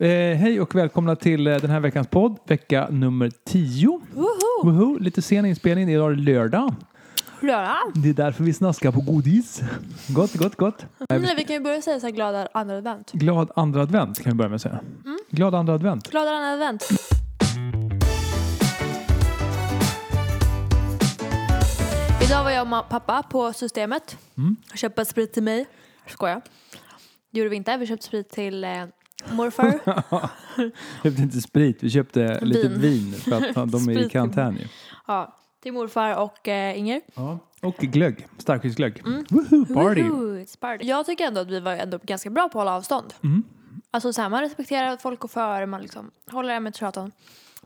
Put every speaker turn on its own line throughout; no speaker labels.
Eh, hej och välkomna till eh, den här veckans podd, vecka nummer 10.
Woho!
Woho! Lite sen inspelning, det är idag lördag.
Klara!
Det är därför vi snaskar på godis. Gott, gott, gott. Nej, vi-
Nej, vi kan ju börja säga så här glada andra advent.
Glad andra advent kan vi börja med att säga.
Mm.
Glad andra advent.
Glada andra advent. Idag var jag och ma- pappa på systemet.
Mm.
och köpte sprit till mig. Skojar. Det gjorde vi inte. Vi köpte sprit till eh, morfar.
Vi köpte inte sprit, vi köpte lite
Vin.
vin för att ja, de är i
Sprit.
karantän ju.
ja, till morfar och eh, Inger.
Ja. Och glögg, starkvitsglögg. Woho! Party!
Mm. Woho, it's party. Jag tycker ändå att vi var ändå ganska bra på att hålla avstånd.
Mm.
Alltså så här, man respekterar att folk går före, man liksom håller det med tratan.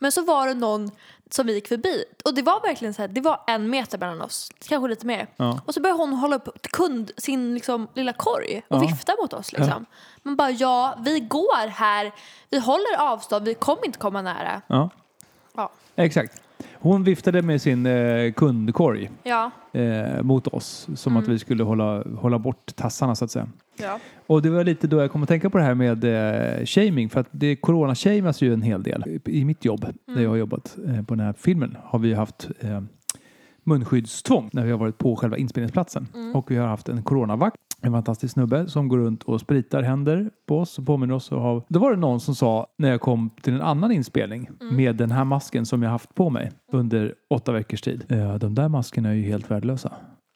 Men så var det någon som vi gick förbi och det var verkligen så här, det var en meter mellan oss, kanske lite mer.
Ja.
Och så började hon hålla upp kund, sin liksom, lilla korg och
Ja.
vifta mot oss. Liksom. Man bara ja, vi går här, vi håller avstånd, vi kommer inte komma nära.
Ja,
Ja,
exakt. Hon viftade med sin eh, kundkorg
ja,
eh, mot oss som
Mm.
att vi skulle hålla, hålla bort tassarna så att säga.
ja.
Och det var lite då jag kom att tänka på det här med eh, shaming, för att det coronashamas ju en hel del. I mitt jobb, där jag har jobbat eh, på den här filmen, har vi ju haft eh, munskyddstvång när vi har varit på själva inspelningsplatsen. Och vi har haft en coronavakt, en fantastisk snubbe som går runt och spritar händer på oss och påminner oss. Och har... Då var det någon som sa, när jag kom till en annan inspelning med den här masken som jag haft på mig under åtta veckors tid. Eh, de där maskerna är ju helt värdelösa.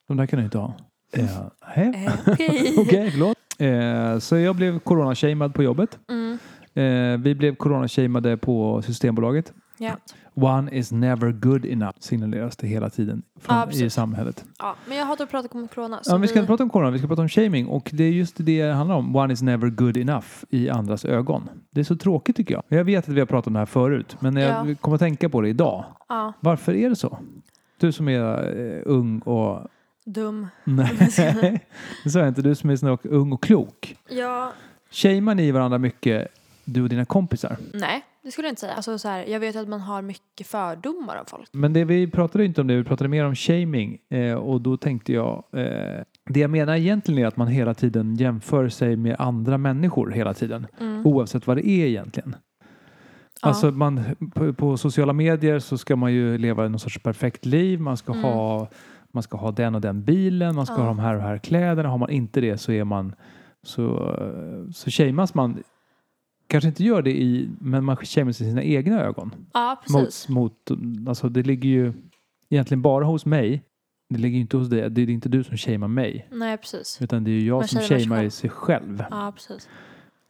De där kan du inte ha. Eh, hej.
Eh, Okej.
Okej, förlåt. Eh, så jag blev coronashamad på jobbet.
Mm,
Eh, vi blev coronashamade på Systembolaget.
ja.
One is never good enough signaleras det hela tiden från,
Ja, precis.
i samhället.
ja. Men jag hatar att prata om corona. Så
Ja, men vi ska inte prata om corona, vi ska prata om shaming. Och det är just det det handlar om. One is never good enough i andras ögon. Det är så tråkigt tycker jag. Jag vet att vi har pratat om det här förut, men när jag
Ja.
kom att tänka på det idag.
ja,
Varför är det så? Du som är eh, ung och...
dum.
Nej, det sa jag inte. Du som är snart ung och klok.
Ja,
Shamear ni varandra mycket, du och dina kompisar?
Nej, det skulle jag inte säga. Alltså, så här, jag vet att man har mycket fördomar om folk.
Men det vi pratade inte om det, vi pratade mer om shaming. Eh, och då tänkte jag, eh, det jag menar egentligen är att man hela tiden jämför sig med andra människor hela tiden.
Mm.
Oavsett vad det är egentligen.
Ja.
Alltså man, på, på sociala medier så ska man ju leva någon sorts perfekt liv. Man ska, ha, man ska ha den och den bilen, man ska
Mm. Ja.
ha de här och här kläderna. Har man inte det så är man så, eh, så shameas man. Kanske inte gör det i, men man shameas i sina egna ögon.
Ja, precis.
Mot, mot, alltså det ligger ju egentligen bara hos mig. Det ligger ju inte hos dig. Det är inte du som shamear mig.
Nej, precis.
Utan det är ju jag
Man
som
shamear sig
shamear
själv.
sig själv.
Ja, precis.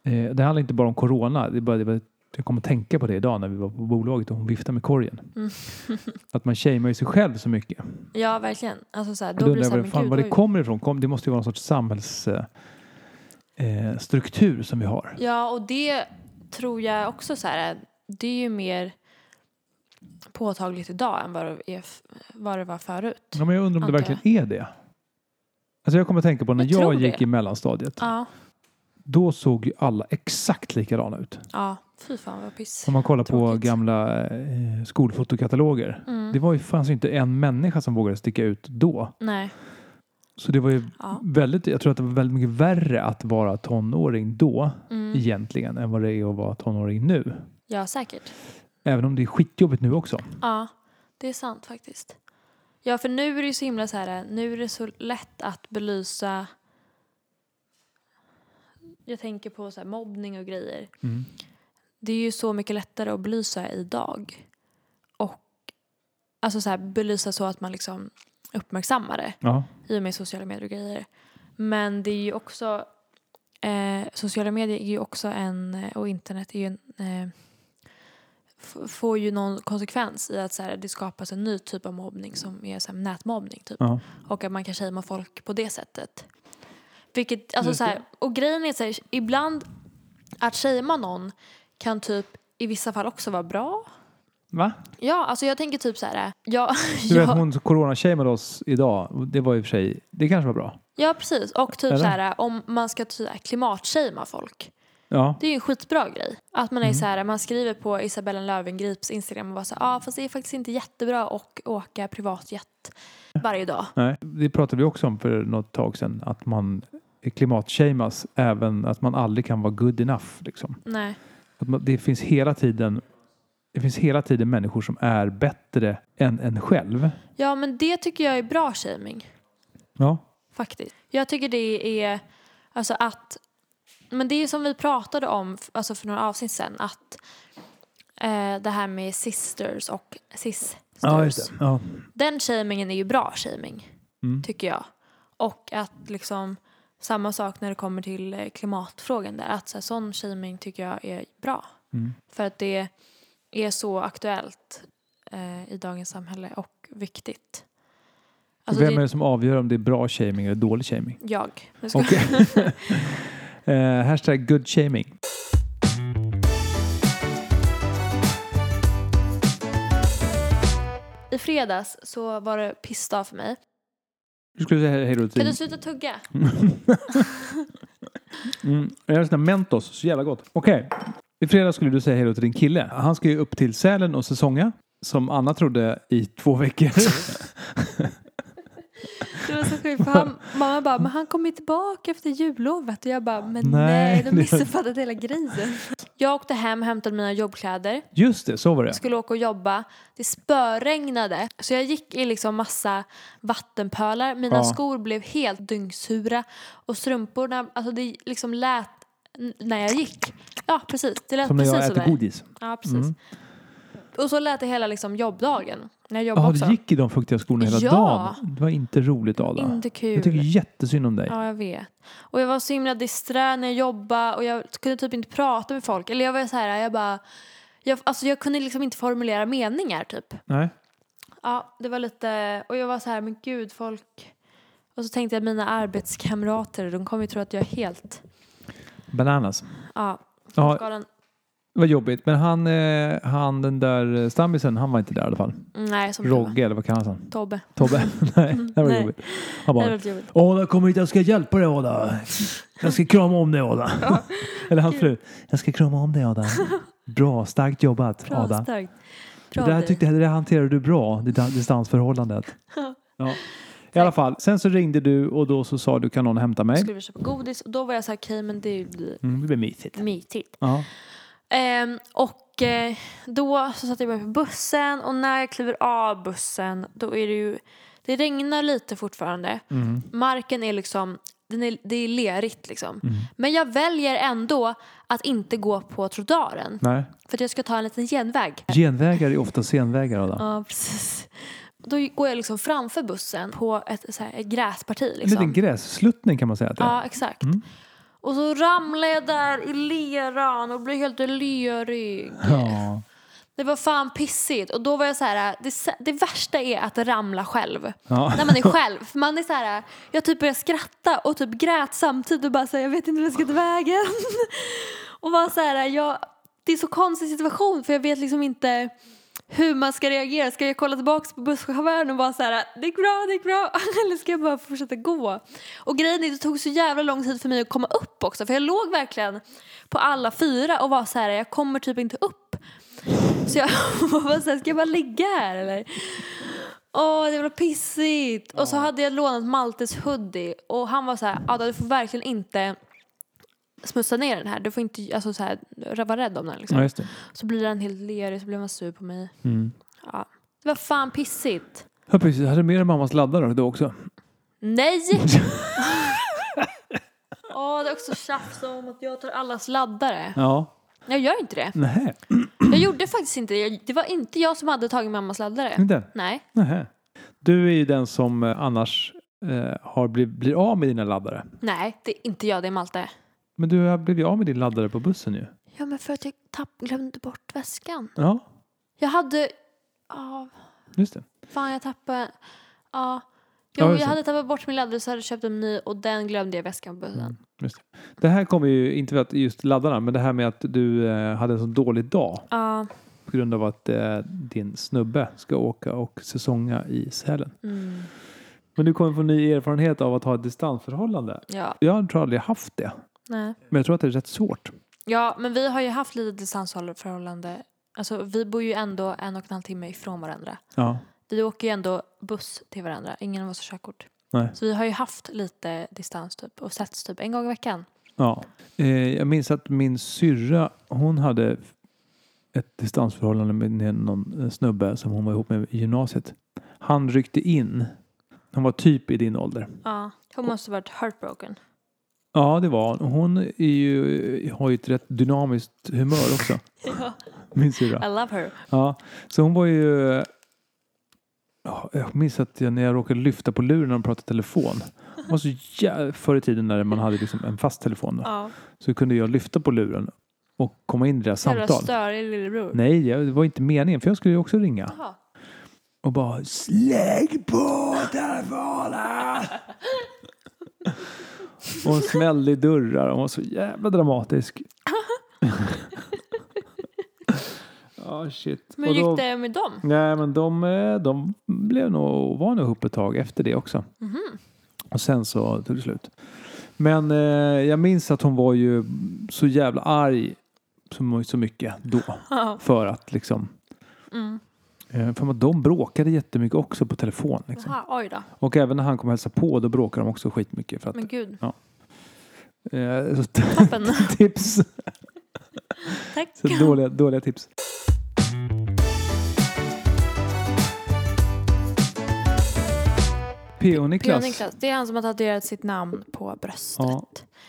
Eh, det handlar inte bara om corona. Det är bara, det är bara, jag kom att tänka på det idag när vi var på bolaget och hon viftade med korgen.
Mm.
att man shamear ju sig själv så mycket.
Ja, verkligen. Alltså, så här,
Då
då blir
undrar
det
jag
så här,
var det, fan,
men gud,
var det
oj.
kommer ifrån. Kom, det måste ju vara någon sorts samhällsstruktur eh, struktur som vi har.
Ja, och det tror jag också så här, det är ju mer påtagligt idag än vad det, är, f- vad det var förut.
Ja, men jag undrar om det
Antar jag.
verkligen är det. Alltså jag kommer att tänka på när
Jag
jag,
tror
gick
det.
i mellanstadiet.
Ja,
Då såg ju alla exakt likadana ut.
ja. Fy fan vad piss.
Om man kollar på
Tråkigt. Mm.
gamla eh, skolfotokataloger. Det var ju, fanns ju inte en människa som vågade sticka ut då.
Nej.
Så det var ju
Ja.
väldigt, jag tror att det var väldigt mycket värre att vara tonåring då
Mm.
egentligen än vad det är att vara tonåring nu.
Ja, säkert.
Även om det är skitjobbigt nu också.
Ja, det är sant faktiskt. Ja, för nu är det ju så himla så här, nu är det så lätt att belysa jag tänker på så här, mobbning och grejer.
Mm.
Det är ju så mycket lättare att belysa idag. Och alltså så här, belysa så att man liksom uppmärksammar det
Ja.
i och med sociala medier och grejer. Men det är ju också eh, sociala medier är ju också en och internet är ju en, eh, f- får ju någon konsekvens i att så här, det skapas en ny typ av mobbning som är så här, nätmobbning typ
ja.
och att man kan shamea folk på det sättet. Vilket, alltså
Just
så här, och grejen är så här, ibland att shamea någon kan typ i vissa fall också vara bra.
Va?
Ja, alltså jag tänker typ så här, ja,
Du
ja.
vet hon som coronashameade oss idag. Det var i och för sig, det kanske var bra.
Ja, precis. Och typ
Eller?
så här, om man ska ty- klimatshama folk.
Ja.
Det är ju en skitbra grej. Att man är
Mm.
så här, man skriver på Isabella Lövengrips Instagram och bara så här, ah, fast det är faktiskt inte jättebra att åka privatjet varje dag.
Nej, det pratade vi också om för något tag sedan. Att man klimatshameas även att man aldrig kan vara good enough. Liksom.
Nej.
Att man, det, finns hela tiden, det finns hela tiden människor som är bättre än en själv.
Ja, men det tycker jag är bra shaming
Ja.
faktiskt. Jag tycker det är alltså att men det är som vi pratade om f- alltså för några avsnitt sen att eh, det här med sisters och sisters.
Ja, just det. Ja.
Den shamingen är ju bra shaming
Mm.
tycker jag. Och att liksom samma sak när det kommer till eh, klimatfrågan där att så här, sån shaming tycker jag är bra.
Mm.
För att det är så aktuellt eh, i dagens samhälle och viktigt. Alltså,
Vem
det
är det som avgör om det är bra shaming eller dålig shaming?
jag. Nu ska
Okej. eh, hashtag good shaming.
I fredags så var det pissdag för mig.
Du skulle säga hej då till...
Kan du sluta tugga?
Mm. Jag har sån här Mentos, så jävla gott. Okej. I fredags skulle du säga hej då till din kille. Han ska ju upp till Sälen och säsonga. Som Anna trodde i två veckor.
Det var så sjukt för han, mamma bara, men han kommer ju tillbaka efter jullovet och jag bara, men
Nej,
nej,
det
de
var-
missuppfattade hela grejen. Jag åkte hem och hämtade mina jobbkläder,
Just det, så var det.
skulle åka och jobba. Det spöregnade så jag gick i liksom massa vattenpölar. Mina
Ja.
skor blev helt dyngsura och strumporna, alltså det liksom lät n- när jag gick. Ja, precis. Det lät
Som när
precis
jag äter
sådär.
godis. Mm.
Ja, precis. Och så lät det hela liksom jobbdagen. När jag jobbade
Jaha,
också.
du gick i de fuktiga skorna hela
Ja.
dagen. Det var inte roligt Ada.
Inte kul.
Jag tycker jättesynd om dig.
Ja, jag vet. Och jag var så himla disträ när jag jobbade och jag kunde typ inte prata med folk. Eller jag var så här, jag bara... Jag, alltså jag kunde liksom inte formulera meningar typ.
Nej.
Ja, det var lite... Och jag var så här, men gud folk... Och så tänkte jag mina arbetskamrater, de kommer ju tro att jag är helt...
Bananas.
Ja,
Ja,
galen.
det var jobbigt. Men han, eh, han den där eh, stammisen, han var inte där i alla fall.
Nej, som tur var.
Rogge, eller vad kallas han?
Tobbe.
Tobbe? Nej, det var
Nej.
jobbigt. Han
Det var
bara,
väldigt jobbigt.
Ada kommer hit, jag ska hjälpa dig Ada. Jag ska krama om dig Ada. Eller hans fru. Jag ska krama om dig Ada. Bra, starkt jobbat
Bra,
Ada.
starkt.
Det
Bra
där,
dig.
tyckte, jag- det där hanterade du bra, det där distansförhållandet. Ja. I alla fall, sen så ringde du och då så sa du kan någon hämta mig?
Skulle vi köpa godis? Och då var jag så här, okej men det blir
Mm, det blir mysigt.
mytigt.
Ja.
Ehm, och eh, då så satte jag mig på bussen och när jag kliver av bussen då är det ju, det regnar lite fortfarande. Marken är liksom, den är, det är lerigt liksom. Men jag väljer ändå att inte gå på trottoaren
Nej.
för att jag ska ta en liten genväg.
Genvägar är ofta senvägar Ada.
Ja, precis. Då går jag liksom framför bussen på ett, så här, ett gräsparti.
En
Liksom.
liten grässluttning kan man säga att det är.
Ja, exakt. Och så ramlar jag där i leran och blir helt lerig.
Ja.
Det var fan pissigt. Och då var jag så här, det, sä- det värsta är att ramla själv.
Ja.
När man är själv. För man är så här, jag typ började skratta och typ grät samtidigt och bara så här, jag vet inte vart jag ska ta vägen. och var så här, jag, det är så konstig situation för jag vet liksom inte hur man ska reagera. Ska jag kolla tillbaka på busschauffören och bara så här, det gick bra, det gick bra. Eller ska jag bara fortsätta gå? Och grejen är att det tog så jävla lång tid för mig att komma upp också. För jag låg verkligen på alla fyra och var så här, jag kommer typ inte upp. Så jag var så här, ska jag bara ligga här eller? Åh, det var pissigt. Och så hade jag lånat Maltes hoodie och han var så här, Ada du får verkligen inte smutsa ner den här. Du får inte alltså, så här, vara rädd om den liksom.
ja, just det.
Så blir den helt lerig så blir man sur på mig.
Mm.
Ja. Det var fan pissigt.
Ja, precis. Hade du med dig mammas laddare då också?
Nej! Åh, det är också tjafs om att jag tar allas laddare.
Ja.
Jag gör inte det.
Nej.
Jag gjorde faktiskt inte det. Jag- Det var inte jag som hade tagit mammas laddare.
Inte?
Nej.
Nähä. Du är ju den som eh, annars eh, har bliv, blir av med dina laddare.
Nej, det är inte jag, det är Malte.
Men du har blivit av med din laddare på bussen ju.
Ja, men för att jag tapp, glömde bort väskan.
Ja,
Jag hade... Ja,
just det.
fan jag tappade... Ja.
Ja,
Jo,
just
jag
det.
hade tappat bort min laddare så hade jag köpt en ny och den glömde jag i väskan på bussen.
Just det. det här kommer ju inte för att just laddarna, men det här med att du eh, hade en så dålig dag
Ja.
på grund av att eh, din snubbe ska åka och säsonga i Sälen.
Mm.
Men du kommer få ny erfarenhet av att ha ett distansförhållande.
Ja.
Jag tror aldrig jag haft det,
Nej.
men jag tror att det är rätt svårt.
Ja, men vi har ju haft lite distansförhållande. Alltså, vi bor ju ändå en och en halv timme ifrån varandra.
Ja,
Vi åker ju ändå buss till varandra. Ingen av oss har körkort.
Nej.
Så vi har ju haft lite distans typ och setts typ en gång i veckan.
Ja. Eh, jag minns att min syrra, hon hade ett distansförhållande med någon eh, snubbe som hon var ihop med i gymnasiet. Han ryckte in. Han var typ i din ålder.
Ja. Hon måste varit heartbroken.
Ja, det var hon. Hon är ju, har ju ett rätt dynamiskt humör också,
Ja.
min syrra.
I love her.
Ja, så hon var ju... Ja, Jag minns att jag, när jag råkade lyfta på luren när de pratade telefon. Det var så jä... Förr i tiden när man hade liksom en fast telefon då,
Ja.
så kunde jag lyfta på luren och komma in i deras
Jävla
samtal.
störig lillebror.
Nej, jag- det var inte meningen för jag skulle ju också ringa.
Jaha.
Och bara slägg på telefonen! och hon smällde i dörrar. Hon var så jävla dramatisk. Ja, shit.
Men
Och
hur
då-
gick det med dem?
Nej, men de, eh, de blev nog, var nog ihop ett tag efter det också.
Mhm.
Och sen så tog det slut. Men eh, jag minns att hon var ju så jävla arg så, så mycket då.
Ja.
För att liksom...
Mm.
eh, För att de bråkade jättemycket också på telefon. Liksom.
Jaha, oj då.
Och även när han kom och hälsade på då bråkade de också skitmycket. För att,
Men gud.
eh, så
Toppen.
tips.
Tack.
Så dåliga, dåliga tips. P.O.
Björn
Niklas.
Niklas. Det är han som har tatuerat sitt namn på bröstet.
Ja.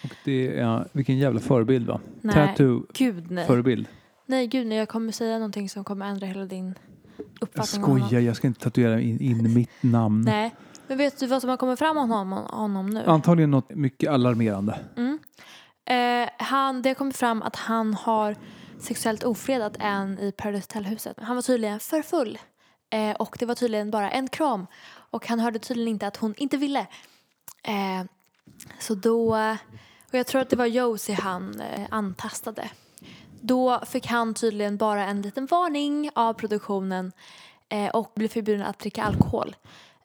Och det är, vilken jävla förebild va?
Nej.
Tattoo-förebild.
Gud nej. Nej gud nej, jag kommer säga någonting som kommer ändra hela din
Jag
uppfattning om honom.
skojar, jag ska inte tatuera in, in mitt namn.
Nej. Men vet du vad som har kommit fram om honom, honom nu?
Antagligen något mycket alarmerande.
Mm. Eh, han, det har kommit fram att han har sexuellt ofredat en i Paradise Hotel-huset. Han var tydligen för full. Eh, och det var tydligen bara en kram. Och han hörde tydligen inte att hon inte ville. Eh, så då... Och jag tror att det var Josie han eh, antastade. Då fick han tydligen bara en liten varning av produktionen eh, och blev förbjuden att dricka alkohol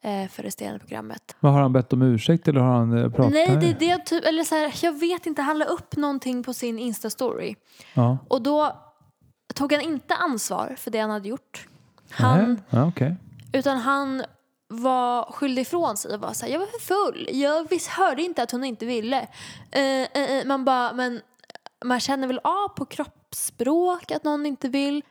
eh, för resterande programmet.
Men har han bett om ursäkt eller har han eh, pratat?
Nej, det, det är typ, eller så här, jag vet inte, han la upp någonting på sin Insta-story.
Ja.
Och då tog han inte ansvar för det han hade gjort.
Nej.
Han,
Ja, okej.
utan han var skyldig ifrån sig och var så här, jag var för full. Jag visst hörde inte att hon inte ville. Eh, eh, eh, man bara, men man känner väl av på kroppsspråk att någon inte vill.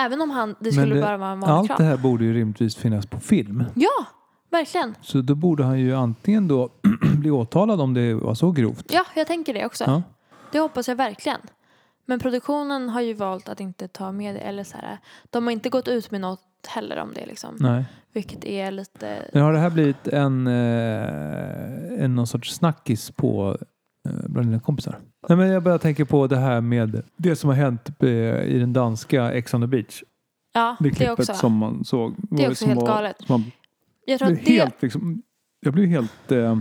Även om han, det skulle
Mm. det-
bara vara en vanlig
eh, Allt det
kram.
här borde ju rimligtvis finnas på film.
Ja, verkligen.
Så då borde han ju antingen då bli åtalad om det var så grovt.
Ja, jag tänker det också.
Ja.
Det hoppas jag verkligen. Men produktionen har ju valt att inte ta med det. Eller så här, de har inte gått ut med något heller om det. Liksom,
Nej.
vilket är lite...
Men har det här blivit en, eh, en någon sorts snackis på eh, bland dina kompisar? Nej, men jag bara tänker på det här med det som har hänt eh, i den danska Ex on the beach.
Ja,
Det
det,
klippet
också.
som man såg.
Det är också
som
helt
var,
galet.
Som man
Jag tror
blev
att det...
helt, liksom, jag blev helt, eh,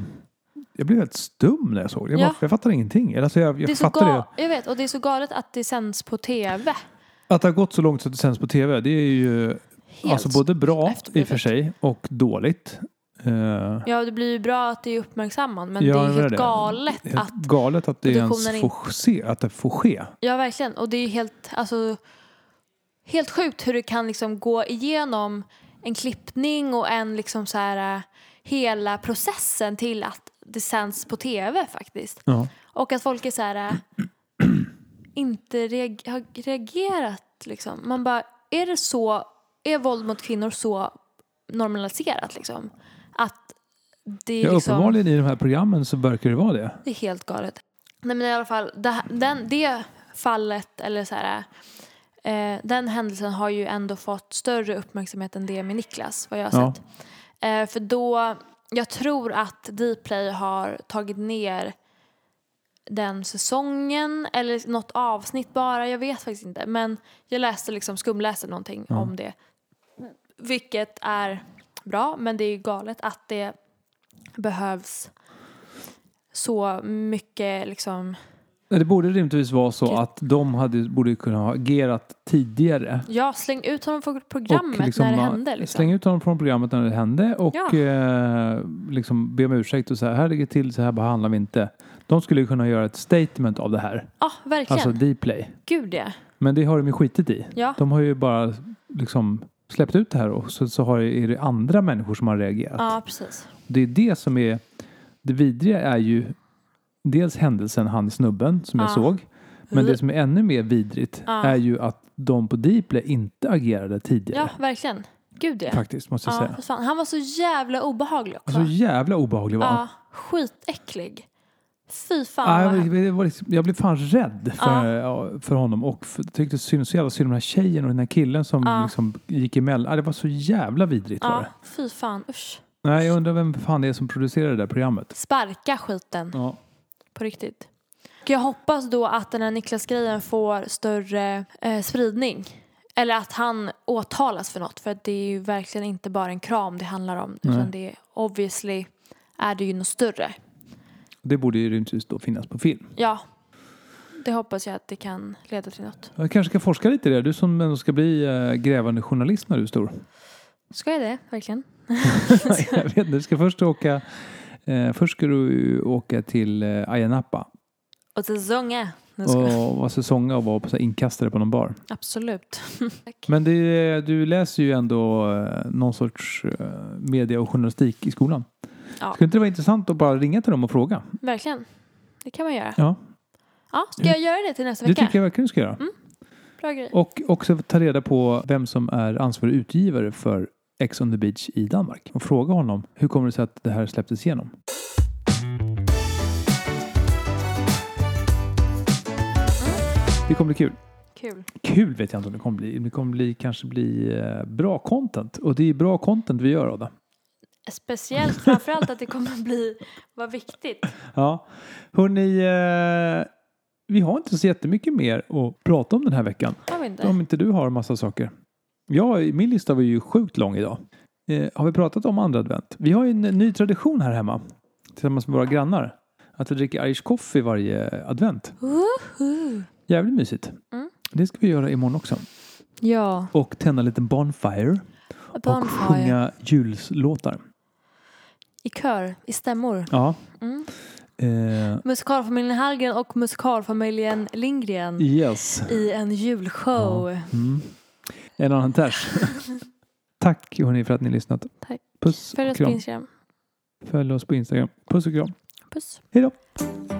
jag blev helt stum när jag såg det. Jag,
Ja.
bara, jag fattar ingenting. Eller, Alltså, jag
det är
jag
så
fattar det.
ga- Jag vet, och det är så galet att det sänds på tv.
Att det har gått så långt så att det sänds på tv, det är ju
Helt.
alltså, både bra i och för
efterblivet.
sig och dåligt. Eh,
Ja, det blir ju bra att det är uppmärksammat men
Ja,
det
jag
är
menar
helt
det.
galet
helt
att...
galet att det ens
produktionen in-
får se, att det får ske.
Ja, verkligen. Och det är ju helt, alltså, helt sjukt hur du kan liksom gå igenom en klippning och en liksom så här, eh, hela processen till att det sänds på tv faktiskt.
Ja.
Och att folk är så här, eh, inte reag- har reagerat. Liksom. Man bara, är det så, är våld mot kvinnor så normaliserat liksom? Att det
Ja,
är liksom... Alltså
uppenbarligen i de här programmen så verkar det vara det.
Det är helt galet. Nej men i alla fall, det, här- den, det fallet eller så här, eh, den händelsen har ju ändå fått större uppmärksamhet än det med Niklas, vad jag har
Ja.
sett. Eh, för då, jag tror att Dplay har tagit ner den säsongen eller något avsnitt bara, jag vet faktiskt inte. Men jag läste liksom, skumläste någonting om det. Vilket är bra, men det är ju galet att det behövs så mycket liksom,
Det borde rimligtvis vara så att de hade, borde kunna ha agerat tidigare.
ja släng ut honom från programmet
liksom,
när det
ja,
hände. Liksom.
Släng ut honom från programmet när det hände och
Ja.
eh, liksom be om ursäkt och så här, här ligger det till, så här behandlar vi inte. De skulle ju kunna göra ett statement av det här,
Ja, verkligen.
alltså Dplay.
Gud ja.
Men det har de ju skitit i.
Ja,
De har ju bara liksom släppt ut det här och så, så har, är det andra människor som har reagerat.
ja precis.
Det är det som är det vidriga är ju dels händelsen han snubben som jag
Ja.
såg. Men det som är ännu mer vidrigt
Ja.
är ju att de på Dplay inte agerade
Ja,
tidigare.
verkligen. Gud ja.
Faktiskt, måste jag
ja
säga.
fast fan. Han var så jävla obehaglig också.
Så jävla obehaglig var han.
ja, skitäcklig. Fy
Ja,
fan
jag,
vad
blev-
hemskt.
det var liksom, jag blev fan rädd för, ja, för honom och för, tyckte synd, så jävla synd om den här tjejen och den här killen som
Ja.
liksom gick emellan. Ja, det var så jävla vidrigt var
Ja,
det.
fy fan. Usch.
Nej, jag undrar vem fan det är som producerar det där programmet.
Sparka skiten.
Ja.
På riktigt. Och jag hoppas då att den här Niklas-grejen får större eh, spridning. Eller att han åtalas för något. För att det är ju verkligen inte bara en kram det handlar om. Utan det är obviously är det ju något större.
Det borde ju rimligtvis då finnas på film.
Ja. Det hoppas jag att det kan leda till något.
Jag kanske ska forska lite i det. Du som ändå ska bli eh, grävande journalist när du är stor.
Ska jag det? Verkligen?
jag vet inte, du ska först åka... Eh, först ska du åka till eh, Ayia Napa
Och till Zunga. Nu ska jag-
och vara säsonga och vara på, så här, inkastare på någon bar.
Absolut. Tack.
Men det, du läser ju ändå eh, någon sorts eh, media och journalistik i skolan.
Ja.
Skulle inte det vara intressant att bara ringa till dem och fråga?
Verkligen. Det kan man göra.
Ja,
Ja, ska jag göra det till nästa
det
vecka?
tycker jag verkligen du ska göra.
Bra grej.
Och också ta reda på vem som är ansvarig utgivare för Ex on the beach i Danmark och fråga honom hur kommer det sig att det här släpptes igenom? Det kommer bli kul.
Kul.
Kul vet jag inte om det kommer bli. Det kommer bli, kanske bli eh, bra content. Och det är bra content vi gör av det.
Speciellt framförallt att det kommer bli, vad viktigt.
Ja. Hörrni, eh, vi har inte så jättemycket mer att prata om den här veckan.
Har vi inte?
Om inte du har en massa saker. Ja, min lista var ju sjukt lång idag. Eh, har vi pratat om andra advent? Vi har ju en ny tradition här hemma tillsammans med våra grannar. Att vi dricker Irish coffee varje advent.
Woho!
Jävligt mysigt.
Mm.
Det ska vi göra imorgon också.
Ja,
Och tända en liten bonfire och
bonfire.
sjunga jullåtar.
I kör, i stämmor.
Ja.
Mm.
Eh,
Musikalfamiljen Hallgren och musikalfamiljen Lindgren
yes.
i en julshow.
Mm. En annan ters. Tack hörni för att ni har lyssnat.
Tack.
Puss
Följ
och
oss på
kram.
Instagram.
Följ oss på Instagram. Puss och kram.
Puss.
Hej då.